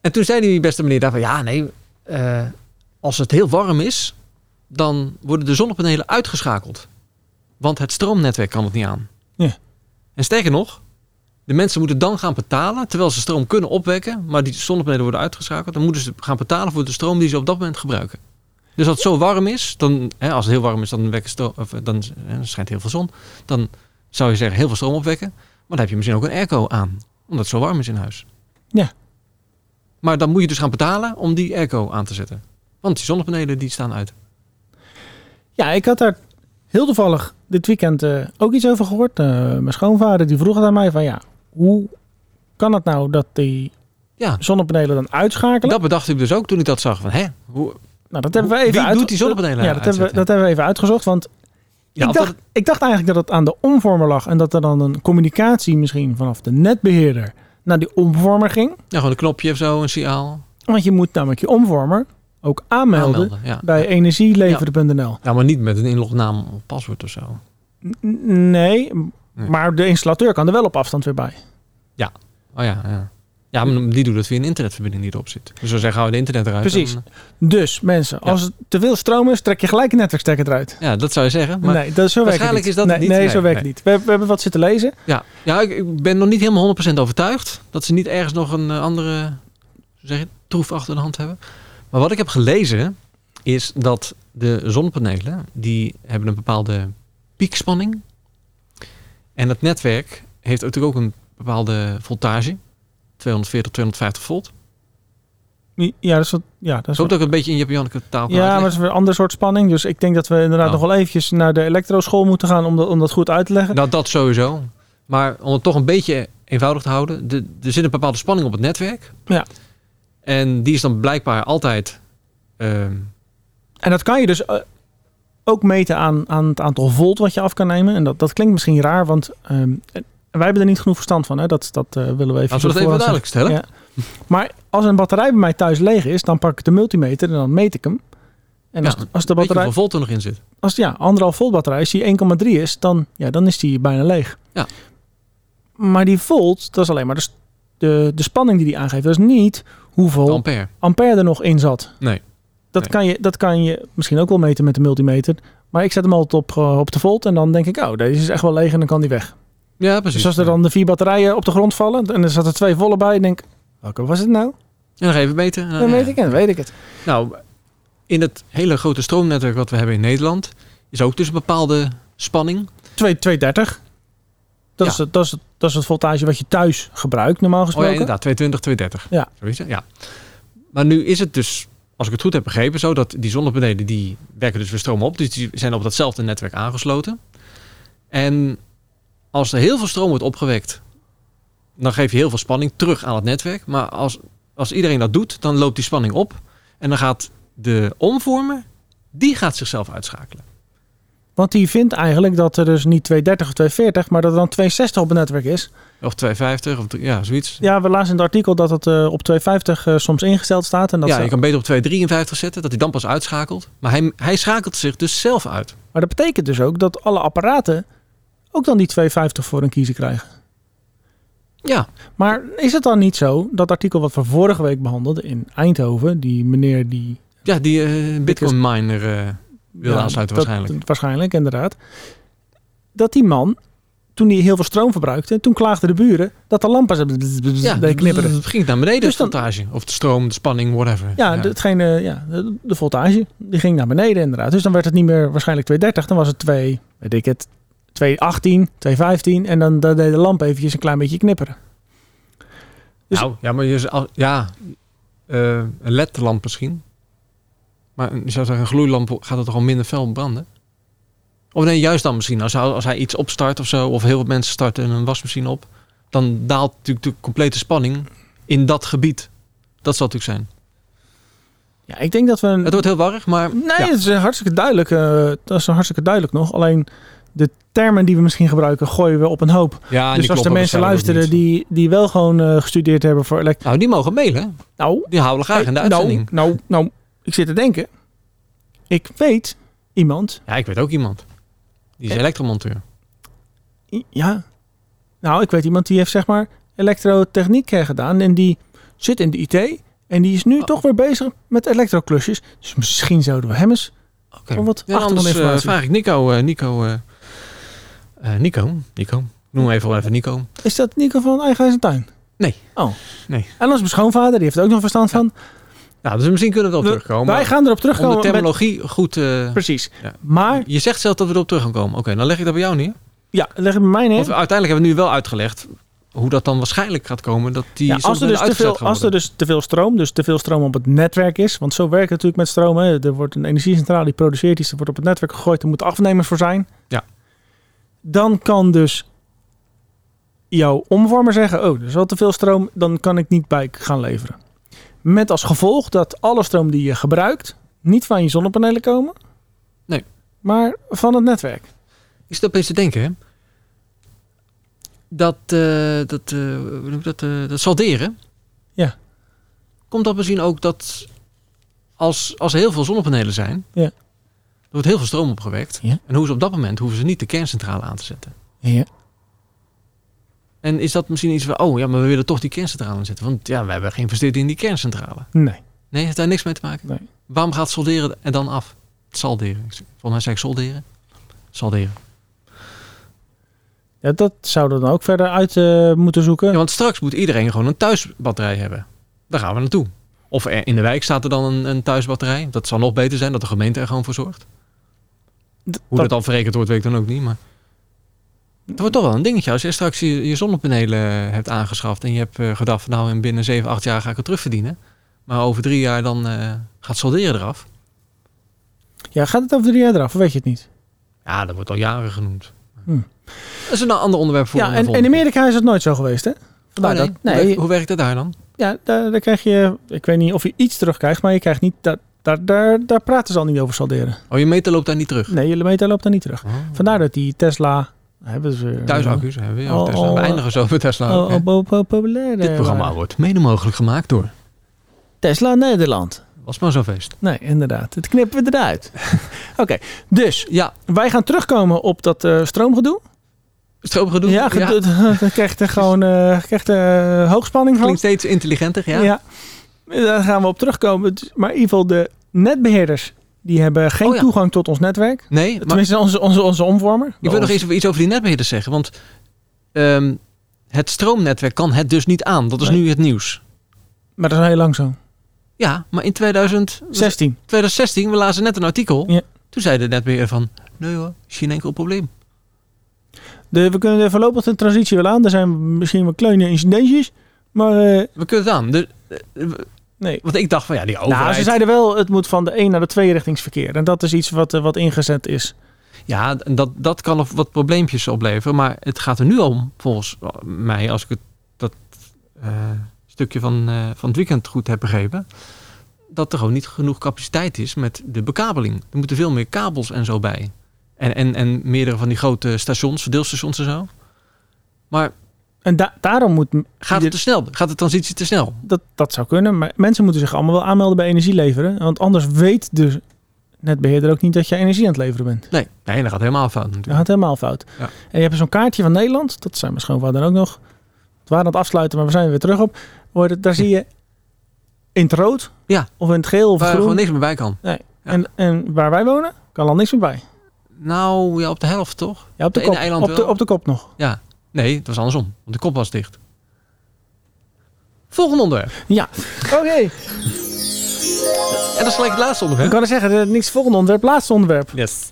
B: En toen zei die beste meneer daarvan, ja nee, eh, als het heel warm is, dan worden de zonnepanelen uitgeschakeld. Want het stroomnetwerk kan het niet aan.
A: Ja.
B: En sterker nog, de mensen moeten dan gaan betalen, terwijl ze stroom kunnen opwekken, maar die zonnepanelen worden uitgeschakeld, dan moeten ze gaan betalen voor de stroom die ze op dat moment gebruiken. Dus als het zo warm is, dan, hè, als het heel warm is, dan, wekken stro- of, eh, dan eh, schijnt heel veel zon. Dan zou je zeggen, heel veel stroom opwekken. Maar dan heb je misschien ook een airco aan, omdat het zo warm is in huis.
A: Ja.
B: Maar dan moet je dus gaan betalen om die airco aan te zetten. Want die zonnepanelen die staan uit.
A: Ja, ik had daar heel toevallig dit weekend eh, ook iets over gehoord. Eh, mijn schoonvader die vroeg het aan mij van ja, hoe kan het nou dat die
B: Ja.
A: zonnepanelen dan uitschakelen?
B: Dat bedacht ik dus ook toen ik dat zag. Van, hè, hoe,
A: nou, dat hebben we
B: Wie
A: even uit-
B: doet die zonnepanelen
A: Ja, dat hebben, we,
B: uitzetten?
A: dat hebben we even uitgezocht. Want
B: ja,
A: ik,
B: of
A: dacht,
B: dat-
A: ik dacht eigenlijk dat het aan de omvormer lag. En dat er dan een communicatie misschien vanaf de netbeheerder naar die omvormer ging.
B: ja, gewoon een knopje of zo, een signaal.
A: Want je moet namelijk je omvormer ook aanmelden,
B: Aanmelden. Ja.
A: bij energieleveren.nl.
B: ja, maar niet met een inlognaam of paswoord of zo. Oh
A: N- Nee, m-
B: Nee.
A: maar de installateur kan er wel op afstand weer bij.
B: Oh ja, ja. Ja, maar die doen dat via een internetverbinding die erop zit. Dus we zeggen, hou de internet eruit.
A: Precies.
B: dan-
A: Dus mensen,
B: Ja.
A: als het te veel stroom is, trek je gelijk een netwerkstekker eruit.
B: ja, dat zou je zeggen. Maar
A: nee, dat, zo werkt het
B: waarschijnlijk
A: niet.
B: is dat
A: nee,
B: het niet.
A: Nee,
B: Nee,
A: zo werkt het
B: nee.
A: niet. We, we hebben wat zitten lezen.
B: Ja, ja ik, ik ben nog niet helemaal 100% overtuigd dat ze niet ergens nog een eh, andere hoe zeg je, het, troef achter de hand hebben. Maar wat ik heb gelezen is dat de zonnepanelen, die hebben een bepaalde piekspanning. En het netwerk heeft natuurlijk ook een bepaalde voltage. 240, 250 volt.
A: Ja, dat is wat, ja, dat
B: Ik
A: is wat-
B: hoop dat ik het een beetje in Japanse taal kan
A: ja maar
B: uitleggen.
A: dat is weer een ander soort spanning. Dus ik denk dat we inderdaad
B: Oh.
A: nog wel eventjes naar de elektroschool moeten gaan om dat, om dat goed uit te leggen.
B: Nou, dat sowieso. Maar om het toch een beetje eenvoudig te houden. De, er zit een bepaalde spanning op het netwerk.
A: Ja.
B: En die is dan blijkbaar altijd... ehm,
A: En dat kan je dus eh, ook meten aan, aan het aantal volt wat je af kan nemen. En dat, dat klinkt misschien raar, want ehm, eh, wij hebben er niet genoeg verstand van. Hè? Dat, dat eh, willen we even
B: Laten we dat even
A: voorhand zeggen.
B: duidelijk stellen.
A: Ja. Maar als een batterij bij mij thuis leeg is, dan pak ik de multimeter en dan meet ik hem. En
B: Ja,
A: als, als de
B: Weet je
A: batterij, Oh.
B: hoeveel volt er nog in zit?
A: als ja, anderhalf volt batterij, als die 1,3 is, dan, ja, dan is die bijna leeg.
B: Ja.
A: Maar die volt, dat is alleen maar de, s- de, de spanning die die aangeeft. Dat is niet hoeveel
B: De ampère.
A: ampère er nog in zat.
B: Nee.
A: Dat,
B: Nee.
A: Kan je, dat kan je misschien ook wel meten met de multimeter. Maar ik zet hem altijd op, eh, op de volt en dan denk ik, oh, deze is echt wel leeg en dan kan die weg.
B: Ja, precies.
A: Dus als er dan de vier batterijen op de grond vallen en er zaten twee volle bij, denk ik, welke was het nou?
B: En nog even meten.
A: Dan weet ik het, weet ik het.
B: Nou, in het hele grote stroomnetwerk wat we hebben in Nederland... is ook dus een bepaalde spanning.
A: 2, 230. Dat,
B: Ja.
A: is het, dat, is het, dat is het voltage wat je thuis gebruikt, normaal
B: Oh ja,
A: gesproken.
B: inderdaad. 220, 230.
A: Ja.
B: Zoiets, hè? ja. Maar nu is het dus, als ik het goed heb begrepen... zo dat die zonnepanelen, die werken dus weer stroom op. Dus die zijn op datzelfde netwerk aangesloten. En als er heel veel stroom wordt opgewekt... dan geef je heel veel spanning terug aan het netwerk. Maar als, als iedereen dat doet, dan loopt die spanning op. En dan gaat de omvormer, die gaat zichzelf uitschakelen.
A: Want die vindt eigenlijk dat er dus niet 230 of 240, maar dat er dan 260 op het netwerk is.
B: Of 250 of drie- ja, zoiets.
A: Ja, we lazen in het artikel dat het eh, op 250 eh, soms ingesteld staat. En dat
B: ja,
A: ze-
B: je kan beter op 253 zetten, dat hij dan pas uitschakelt. Maar hij, hij schakelt zich dus zelf uit.
A: Maar dat betekent dus ook dat alle apparaten ook dan die 250 voor een kiezer krijgen.
B: Ja,
A: Maar is het dan niet zo, dat artikel wat we vorige week behandelden in Eindhoven, die meneer die...
B: ja die eh, bitcoin miner eh, wil
A: ja,
B: aansluiten
A: dat-
B: waarschijnlijk.
A: Waarschijnlijk, inderdaad. Dat die man, toen hij heel veel stroom verbruikte, toen klaagden de buren dat de lampen
B: ja,
A: deden knipperen.
B: Het ging naar beneden,
A: Dus
B: de
A: dan-
B: voltage. Of de stroom, de spanning, whatever.
A: Ja, de, hetgeen, eh, ja de, de voltage die ging naar beneden inderdaad. Dus dan werd het niet meer waarschijnlijk 230. Dan was het 2, weet ik het, 218, 215. En dan, dan deed de lamp eventjes een klein beetje knipperen. dus-
B: Nou, ja, maar je, zou- ja, eh, een ledlamp misschien. Maar een- je zou zeggen, een gloeilamp gaat het toch al minder fel branden? Of nee, juist dan misschien. Als hij, als hij iets opstart of zo, of heel veel mensen starten een wasmachine op, dan daalt natuurlijk de complete spanning in dat gebied. Dat zal natuurlijk zijn.
A: Ja, ik denk dat we... Een,
B: Het wordt heel warrig, maar
A: nee,
B: ja.
A: dat is eh, hartstikke duidelijk. eh, dat is hartstikke duidelijk nog. Alleen de termen die we misschien gebruiken, gooien we op een hoop.
B: ja, en die
A: dus als
B: kloppen
A: de mensen
B: waarschijnlijk ook
A: luisteren
B: niet.
A: die, die wel gewoon eh, gestudeerd hebben voor elekt...
B: Nou, die mogen mailen.
A: Nou,
B: Die houden we graag in de
A: hey,
B: uitzending.
A: nou, nou, nou, ik zit te denken. Ik weet iemand
B: Ja, ik weet ook iemand. Die is
A: Eh.
B: elektromonteur.
A: I- Ja. Nou, ik weet iemand die heeft zeg maar elektrotechniek eh, gedaan en die zit in de IT en die is nu
B: Oh.
A: toch weer bezig met elektroklusjes. Dus misschien zouden we hem eens
B: Oké.
A: om wat
B: Ja, anders eh,
A: achtergrondinformatie.
B: vraag ik Nico. eh, Nico, eh, eh, Nico. Nico. Noem hem even, wel even Nico.
A: Is dat Nico van Eigen Huis en Tuin?
B: Nee.
A: Oh.
B: Nee.
A: En onze schoonvader, die heeft er ook nog verstand
B: Ja,
A: van.
B: Nou, dus misschien kunnen we erop
A: We-
B: terugkomen.
A: Wij gaan erop
B: om de
A: terugkomen. met-
B: terminologie goed... eh,
A: Precies.
B: Ja.
A: Maar,
B: je zegt zelf dat we erop terug gaan komen. Oké, dan leg ik dat bij jou neer.
A: ja, leg het bij mij neer.
B: Want uiteindelijk hebben we nu wel uitgelegd hoe dat dan waarschijnlijk gaat komen. Dat die
A: Ja,
B: soms
A: als, er
B: weer
A: dus te
B: uitgezet
A: veel,
B: gaan
A: als er
B: worden.
A: dus te veel stroom, dus te veel stroom op het netwerk is. Want zo werkt het natuurlijk met stroom. Hè. Er wordt een energiecentrale die produceert iets, er wordt op het netwerk gegooid, er moeten afnemers voor zijn.
B: Ja.
A: Dan kan dus jouw omvormer zeggen: Oh, er is wel te veel stroom, dan kan ik niet bij gaan leveren. Met als gevolg dat alle stroom die je gebruikt niet van je zonnepanelen komen,
B: Nee.
A: maar van het netwerk.
B: Ik zit opeens te denken, hè. Dat, eh, dat, eh, hoe noem je dat, eh, dat salderen.
A: Ja.
B: Komt dat misschien ook dat als, als er heel veel zonnepanelen zijn,
A: Ja.
B: er wordt heel veel stroom opgewekt.
A: Ja.
B: En hoe ze op dat moment hoeven ze niet de kerncentrale aan te zetten.
A: Ja.
B: En is dat misschien iets van, oh ja, maar we willen toch die kerncentrale aanzetten. Want ja, we hebben geïnvesteerd in die kerncentrale.
A: Nee.
B: Nee, heeft daar niks mee te maken.
A: Nee.
B: Waarom gaat solderen en dan af? Salderen. Volgens mij zei ik solderen. Salderen.
A: Ja, dat zouden we dan ook verder uit eh, moeten zoeken.
B: Ja, want straks moet iedereen gewoon een thuisbatterij hebben. Daar gaan we naartoe. Of er- in de wijk staat er dan een, een thuisbatterij. Dat zal nog beter zijn dat de gemeente er gewoon voor zorgt.
A: D-
B: Hoe dat, dan verrekend wordt, weet ik dan ook niet. Maar het wordt toch wel een dingetje. Als je straks je, je zonnepanelen hebt aangeschaft en je hebt eh, gedacht, van, nou en binnen 7, 8 jaar ga ik het terugverdienen. Maar over drie jaar dan eh, gaat solderen eraf.
A: Ja, gaat het over drie jaar eraf? Of weet je het niet?
B: Ja, dat wordt al jaren genoemd.
A: Hm.
B: Dat is een ander onderwerp voor
A: ja,
B: een
A: en, en in
B: volgende keer.
A: Amerika is het nooit zo geweest, hè?
B: Oh,
A: Vandaar
B: nee.
A: dat-
B: Hoe,
A: nee,
B: werkt, hoe werkt dat daar dan?
A: ja, daar, daar krijg je... Ik weet niet of je iets terugkrijgt, maar je krijgt niet... Daar, daar, daar, daar praten ze al niet over salderen.
B: Oh, je meter loopt daar niet terug.
A: Nee, jullie meter loopt daar niet terug.
B: Oh.
A: Vandaar dat die Tesla... Hebben ze... eh,
B: Thuisaccu's hebben we. Eh, ja,
A: Oh,
B: Tesla.
A: oh,
B: we eindigen zo met Tesla.
A: Oh,
B: ook, hè.
A: oh, bo- bo- populair.
B: Dit
A: eh,
B: programma
A: waren.
B: wordt mede mogelijk gemaakt door.
A: Tesla Nederland.
B: Was maar zo'n feest.
A: Nee, inderdaad. Het knippen we
B: <laughs>
A: eruit. Oké, dus
B: Ja,
A: wij gaan terugkomen op dat eh, stroomgedoe.
B: stroomgedoe.
A: Ja, <laughs>
B: ja.
A: gedoe- dan krijgt er gewoon eh, krijgt er hoogspanning van.
B: Klinkt steeds intelligenter, ja.
A: Ja. Daar gaan we op terugkomen. Het is- Maar in ieder geval de netbeheerders, die hebben geen
B: Oh ja.
A: toegang tot ons netwerk.
B: Nee, maar
A: Tenminste, onze, onze, onze omvormer.
B: ik wil nog
A: Ons-
B: eens iets over die netbeheerders zeggen. Want ehm, het stroomnetwerk kan het dus niet aan. Dat is
A: Nee.
B: nu het nieuws.
A: Maar dat is heel langzaam.
B: Ja, maar in 2000,
A: 16.
B: 2016, we lazen net een artikel.
A: Ja.
B: Toen zei de netbeheerder van, nee hoor, is geen enkel probleem.
A: De, we kunnen de voorlopig de transitie wel aan. Er zijn misschien wel kleine incidentjes. Maar eh,
B: We kunnen het aan. De, eh, eh,
A: nee.
B: want ik dacht van, ja, die overheid...
A: Nou, ze zeiden wel, het moet van de 1 naar de 2 richtingsverkeer. En dat is iets wat, eh, wat ingezet is.
B: Ja, en dat, dat kan nog wat probleempjes opleveren. Maar het gaat er nu om, volgens mij, als ik het, dat eh, stukje van, eh, van het weekend goed heb begrepen. Dat er gewoon niet genoeg capaciteit is met de bekabeling. Er moeten veel meer kabels en zo bij. En, en, en meerdere van die grote stations, verdeelstations en zo. Maar
A: En da- daarom moet...
B: gaat het te snel? Gaat de transitie te snel?
A: Dat, dat zou kunnen, maar mensen moeten zich allemaal wel aanmelden bij energie leveren. Want anders weet de netbeheerder ook niet dat je energie aan het leveren bent.
B: Nee, nee dat gaat helemaal fout
A: Dat
B: natuurlijk.
A: gaat helemaal fout.
B: Ja.
A: En je hebt dus zo'n kaartje van Nederland. Dat zijn mijn schoonvader ook nog. We waren aan het afsluiten, maar we zijn er weer terug op. Hoor je, Daar zie je in het rood
B: Ja.
A: of in het geel of
B: Waar
A: groen.
B: gewoon niks meer bij kan. ja.
A: en, en waar wij wonen, kan al niks meer bij.
B: Nou, ja, op de helft toch?
A: Ja, op de,
B: De ene
A: kop,
B: eiland
A: op, de,
B: wel.
A: op de kop nog.
B: Nee, het was andersom. Want de kop was dicht. Volgende onderwerp.
A: Oké,
B: En dat is gelijk het laatste
A: ik
B: onderwerp.
A: kan er zeggen, eh, niks volgende onderwerp, laatste onderwerp.
B: Yes.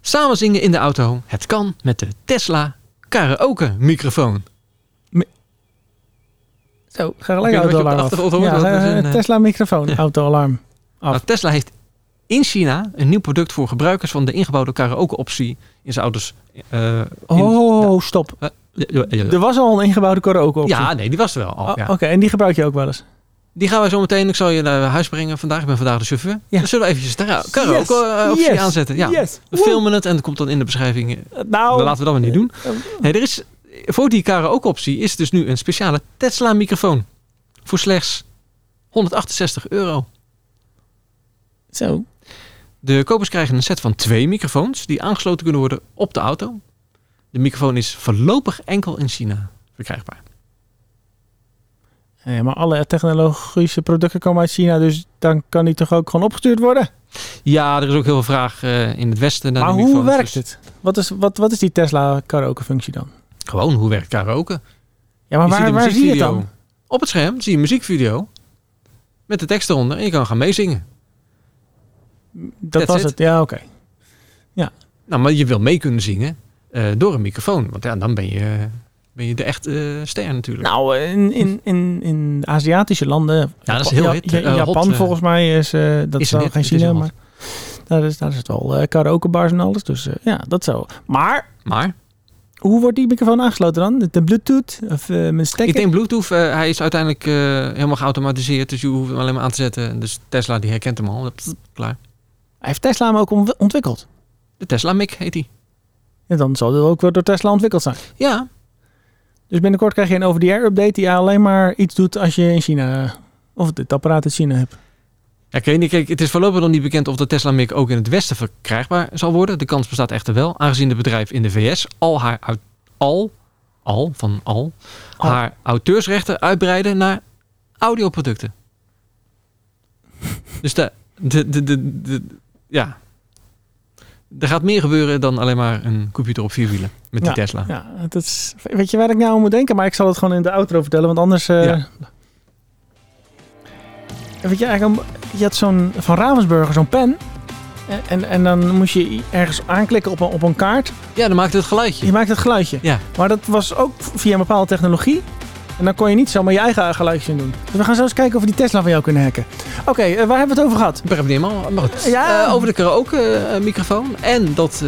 B: Samen zingen in de auto. Het kan met de Tesla karaoke microfoon.
A: Zo, ga gelijk
B: Ik weet niet wat je op de
A: autoalarm
B: achtergrond
A: af.
B: hoort,
A: Ja,
B: want dat is
A: eh,
B: een, eh,
A: Tesla microfoon,
B: ja.
A: autoalarm. Af.
B: Nou, Tesla heeft in China een nieuw product voor gebruikers van de ingebouwde karaoke optie in zijn auto's. eh, in-
A: Oh, stop.
B: Ja, ja, ja.
A: Er was al een ingebouwde karaoke optie.
B: Ja, nee, die was er wel al.
A: Oh,
B: ja.
A: Oké, en die gebruik je ook wel eens.
B: Die gaan wij zo meteen. Ik zal je naar huis brengen vandaag. Ik ben vandaag de chauffeur.
A: Ja.
B: Dan zullen we eventjes de karaoke eh, optie
A: Yes.
B: aanzetten. Ja.
A: Yes.
B: We filmen het en het komt dan in de beschrijving. eh,
A: Woe. Nou,
B: Dan laten we dat maar niet doen.
A: eh,
B: Nee, er is, voor die karaoke optie is dus nu een speciale Tesla microfoon. Voor slechts 168 euro.
A: zo.
B: De kopers krijgen een set van twee microfoons die aangesloten kunnen worden op de auto. De microfoon is voorlopig enkel in China verkrijgbaar.
A: Ja, maar alle technologische producten komen uit China, dus dan kan die toch ook gewoon opgestuurd worden?
B: Ja, er is ook heel veel vraag eh, in het Westen naar
A: maar
B: de
A: hoe
B: microfoons.
A: werkt
B: Dus
A: het? Wat is, wat, wat is die Tesla karaoke functie dan?
B: Gewoon, hoe werkt karaoke?
A: Ja, maar
B: Je ziet
A: waar,
B: een
A: waar zie je het
B: muziekvideo.
A: dan?
B: Op het scherm zie je een muziekvideo met de tekst eronder en je kan gaan meezingen.
A: Dat
B: That's
A: was
B: it.
A: het, ja oké.
B: Nou, maar je wil mee kunnen zingen eh, door een microfoon, want ja, dan ben je, ben je de echte eh, ster natuurlijk.
A: Nou, in, in, in, in Aziatische landen...
B: Ja, dat is heel
A: Ja-
B: hit,
A: Ja-
B: eh, hot,
A: Japan
B: eh,
A: volgens mij is... eh, dat
B: is
A: is
B: een
A: wel
B: hit,
A: geen
B: het is
A: China,
B: heel
A: maar... Daar is, daar is het wel eh karaoke bars en alles, dus eh, ja, dat zo. Maar,
B: maar
A: hoe wordt die microfoon aangesloten dan? Met een bluetooth of eh, met een stekker?
B: ik denk Bluetooth, eh, hij is uiteindelijk eh, helemaal geautomatiseerd, dus je hoeft hem alleen maar aan te zetten. Dus Tesla die herkent hem al, Pst, klaar.
A: Hij heeft Tesla hem ook ontw- ontwikkeld.
B: De Tesla Mic heet hij.
A: En dan zal dit ook weer door Tesla ontwikkeld zijn.
B: Ja,
A: Dus binnenkort krijg je een over-the-air update die alleen maar iets doet als je in China eh, of dit apparaat in China hebt.
B: Ja, ik weet niet. Kijk, het is voorlopig nog niet bekend of de Tesla Mic ook in het Westen verkrijgbaar zal worden. De kans bestaat echter wel, aangezien het bedrijf in de VS al haar au- al, al van al,
A: Al.
B: haar auteursrechten uitbreiden naar audioproducten. dus de, de, de, de, de- ja. Er gaat meer gebeuren dan alleen maar een computer op vier wielen met die Tesla.
A: Ja, dat is, weet je waar ik nou aan moet denken? Maar ik zal het gewoon in de outro vertellen, want anders... eh,
B: Ja.
A: Weet je, eigenlijk, je had zo'n van Ravensburger zo'n pen. En, en, en dan moest je ergens aanklikken op een, op een kaart.
B: Ja, dan maakt het geluidje.
A: Je maakt het geluidje.
B: Ja.
A: Maar dat was ook via een bepaalde technologie. En dan kon je niet zomaar je eigen geluidje in doen. Dus we gaan zo eens kijken of we die Tesla van jou kunnen hacken. Oké, eh, waar hebben we het over gehad?
B: Ik begrijp het niet helemaal, maar goed.
A: Ja.
B: Eh, over de karaoke-microfoon. En dat eh,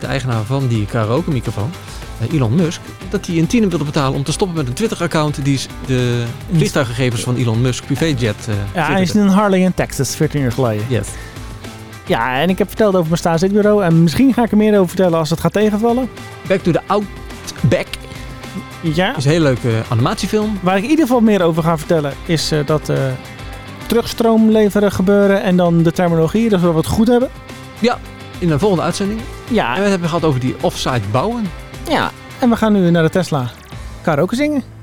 B: de eigenaar van die karaoke-microfoon, eh, Elon Musk... dat hij een tiener wilde betalen om te stoppen met een Twitter-account... die s- de vliegtuiggegevens van Elon Musk privéjet eh
A: Ja, hij is in
B: twitterde.
A: Harlingen, Texas, 14 jaar geleden.
B: Yes.
A: Ja, en ik heb verteld over mijn staatszitbureau. En misschien ga ik er meer over vertellen als het gaat tegenvallen.
B: Back to the Outback
A: Ja.
B: is een hele leuke animatiefilm.
A: Waar ik in ieder geval meer over ga vertellen is eh, dat eh, terugstroom leveren gebeuren. En dan de terminologie, dat we wat goed hebben.
B: In de volgende uitzending. En
A: Ja,
B: we hebben gehad over die offsite bouwen.
A: ja. En we gaan nu naar de Tesla karaoke zingen.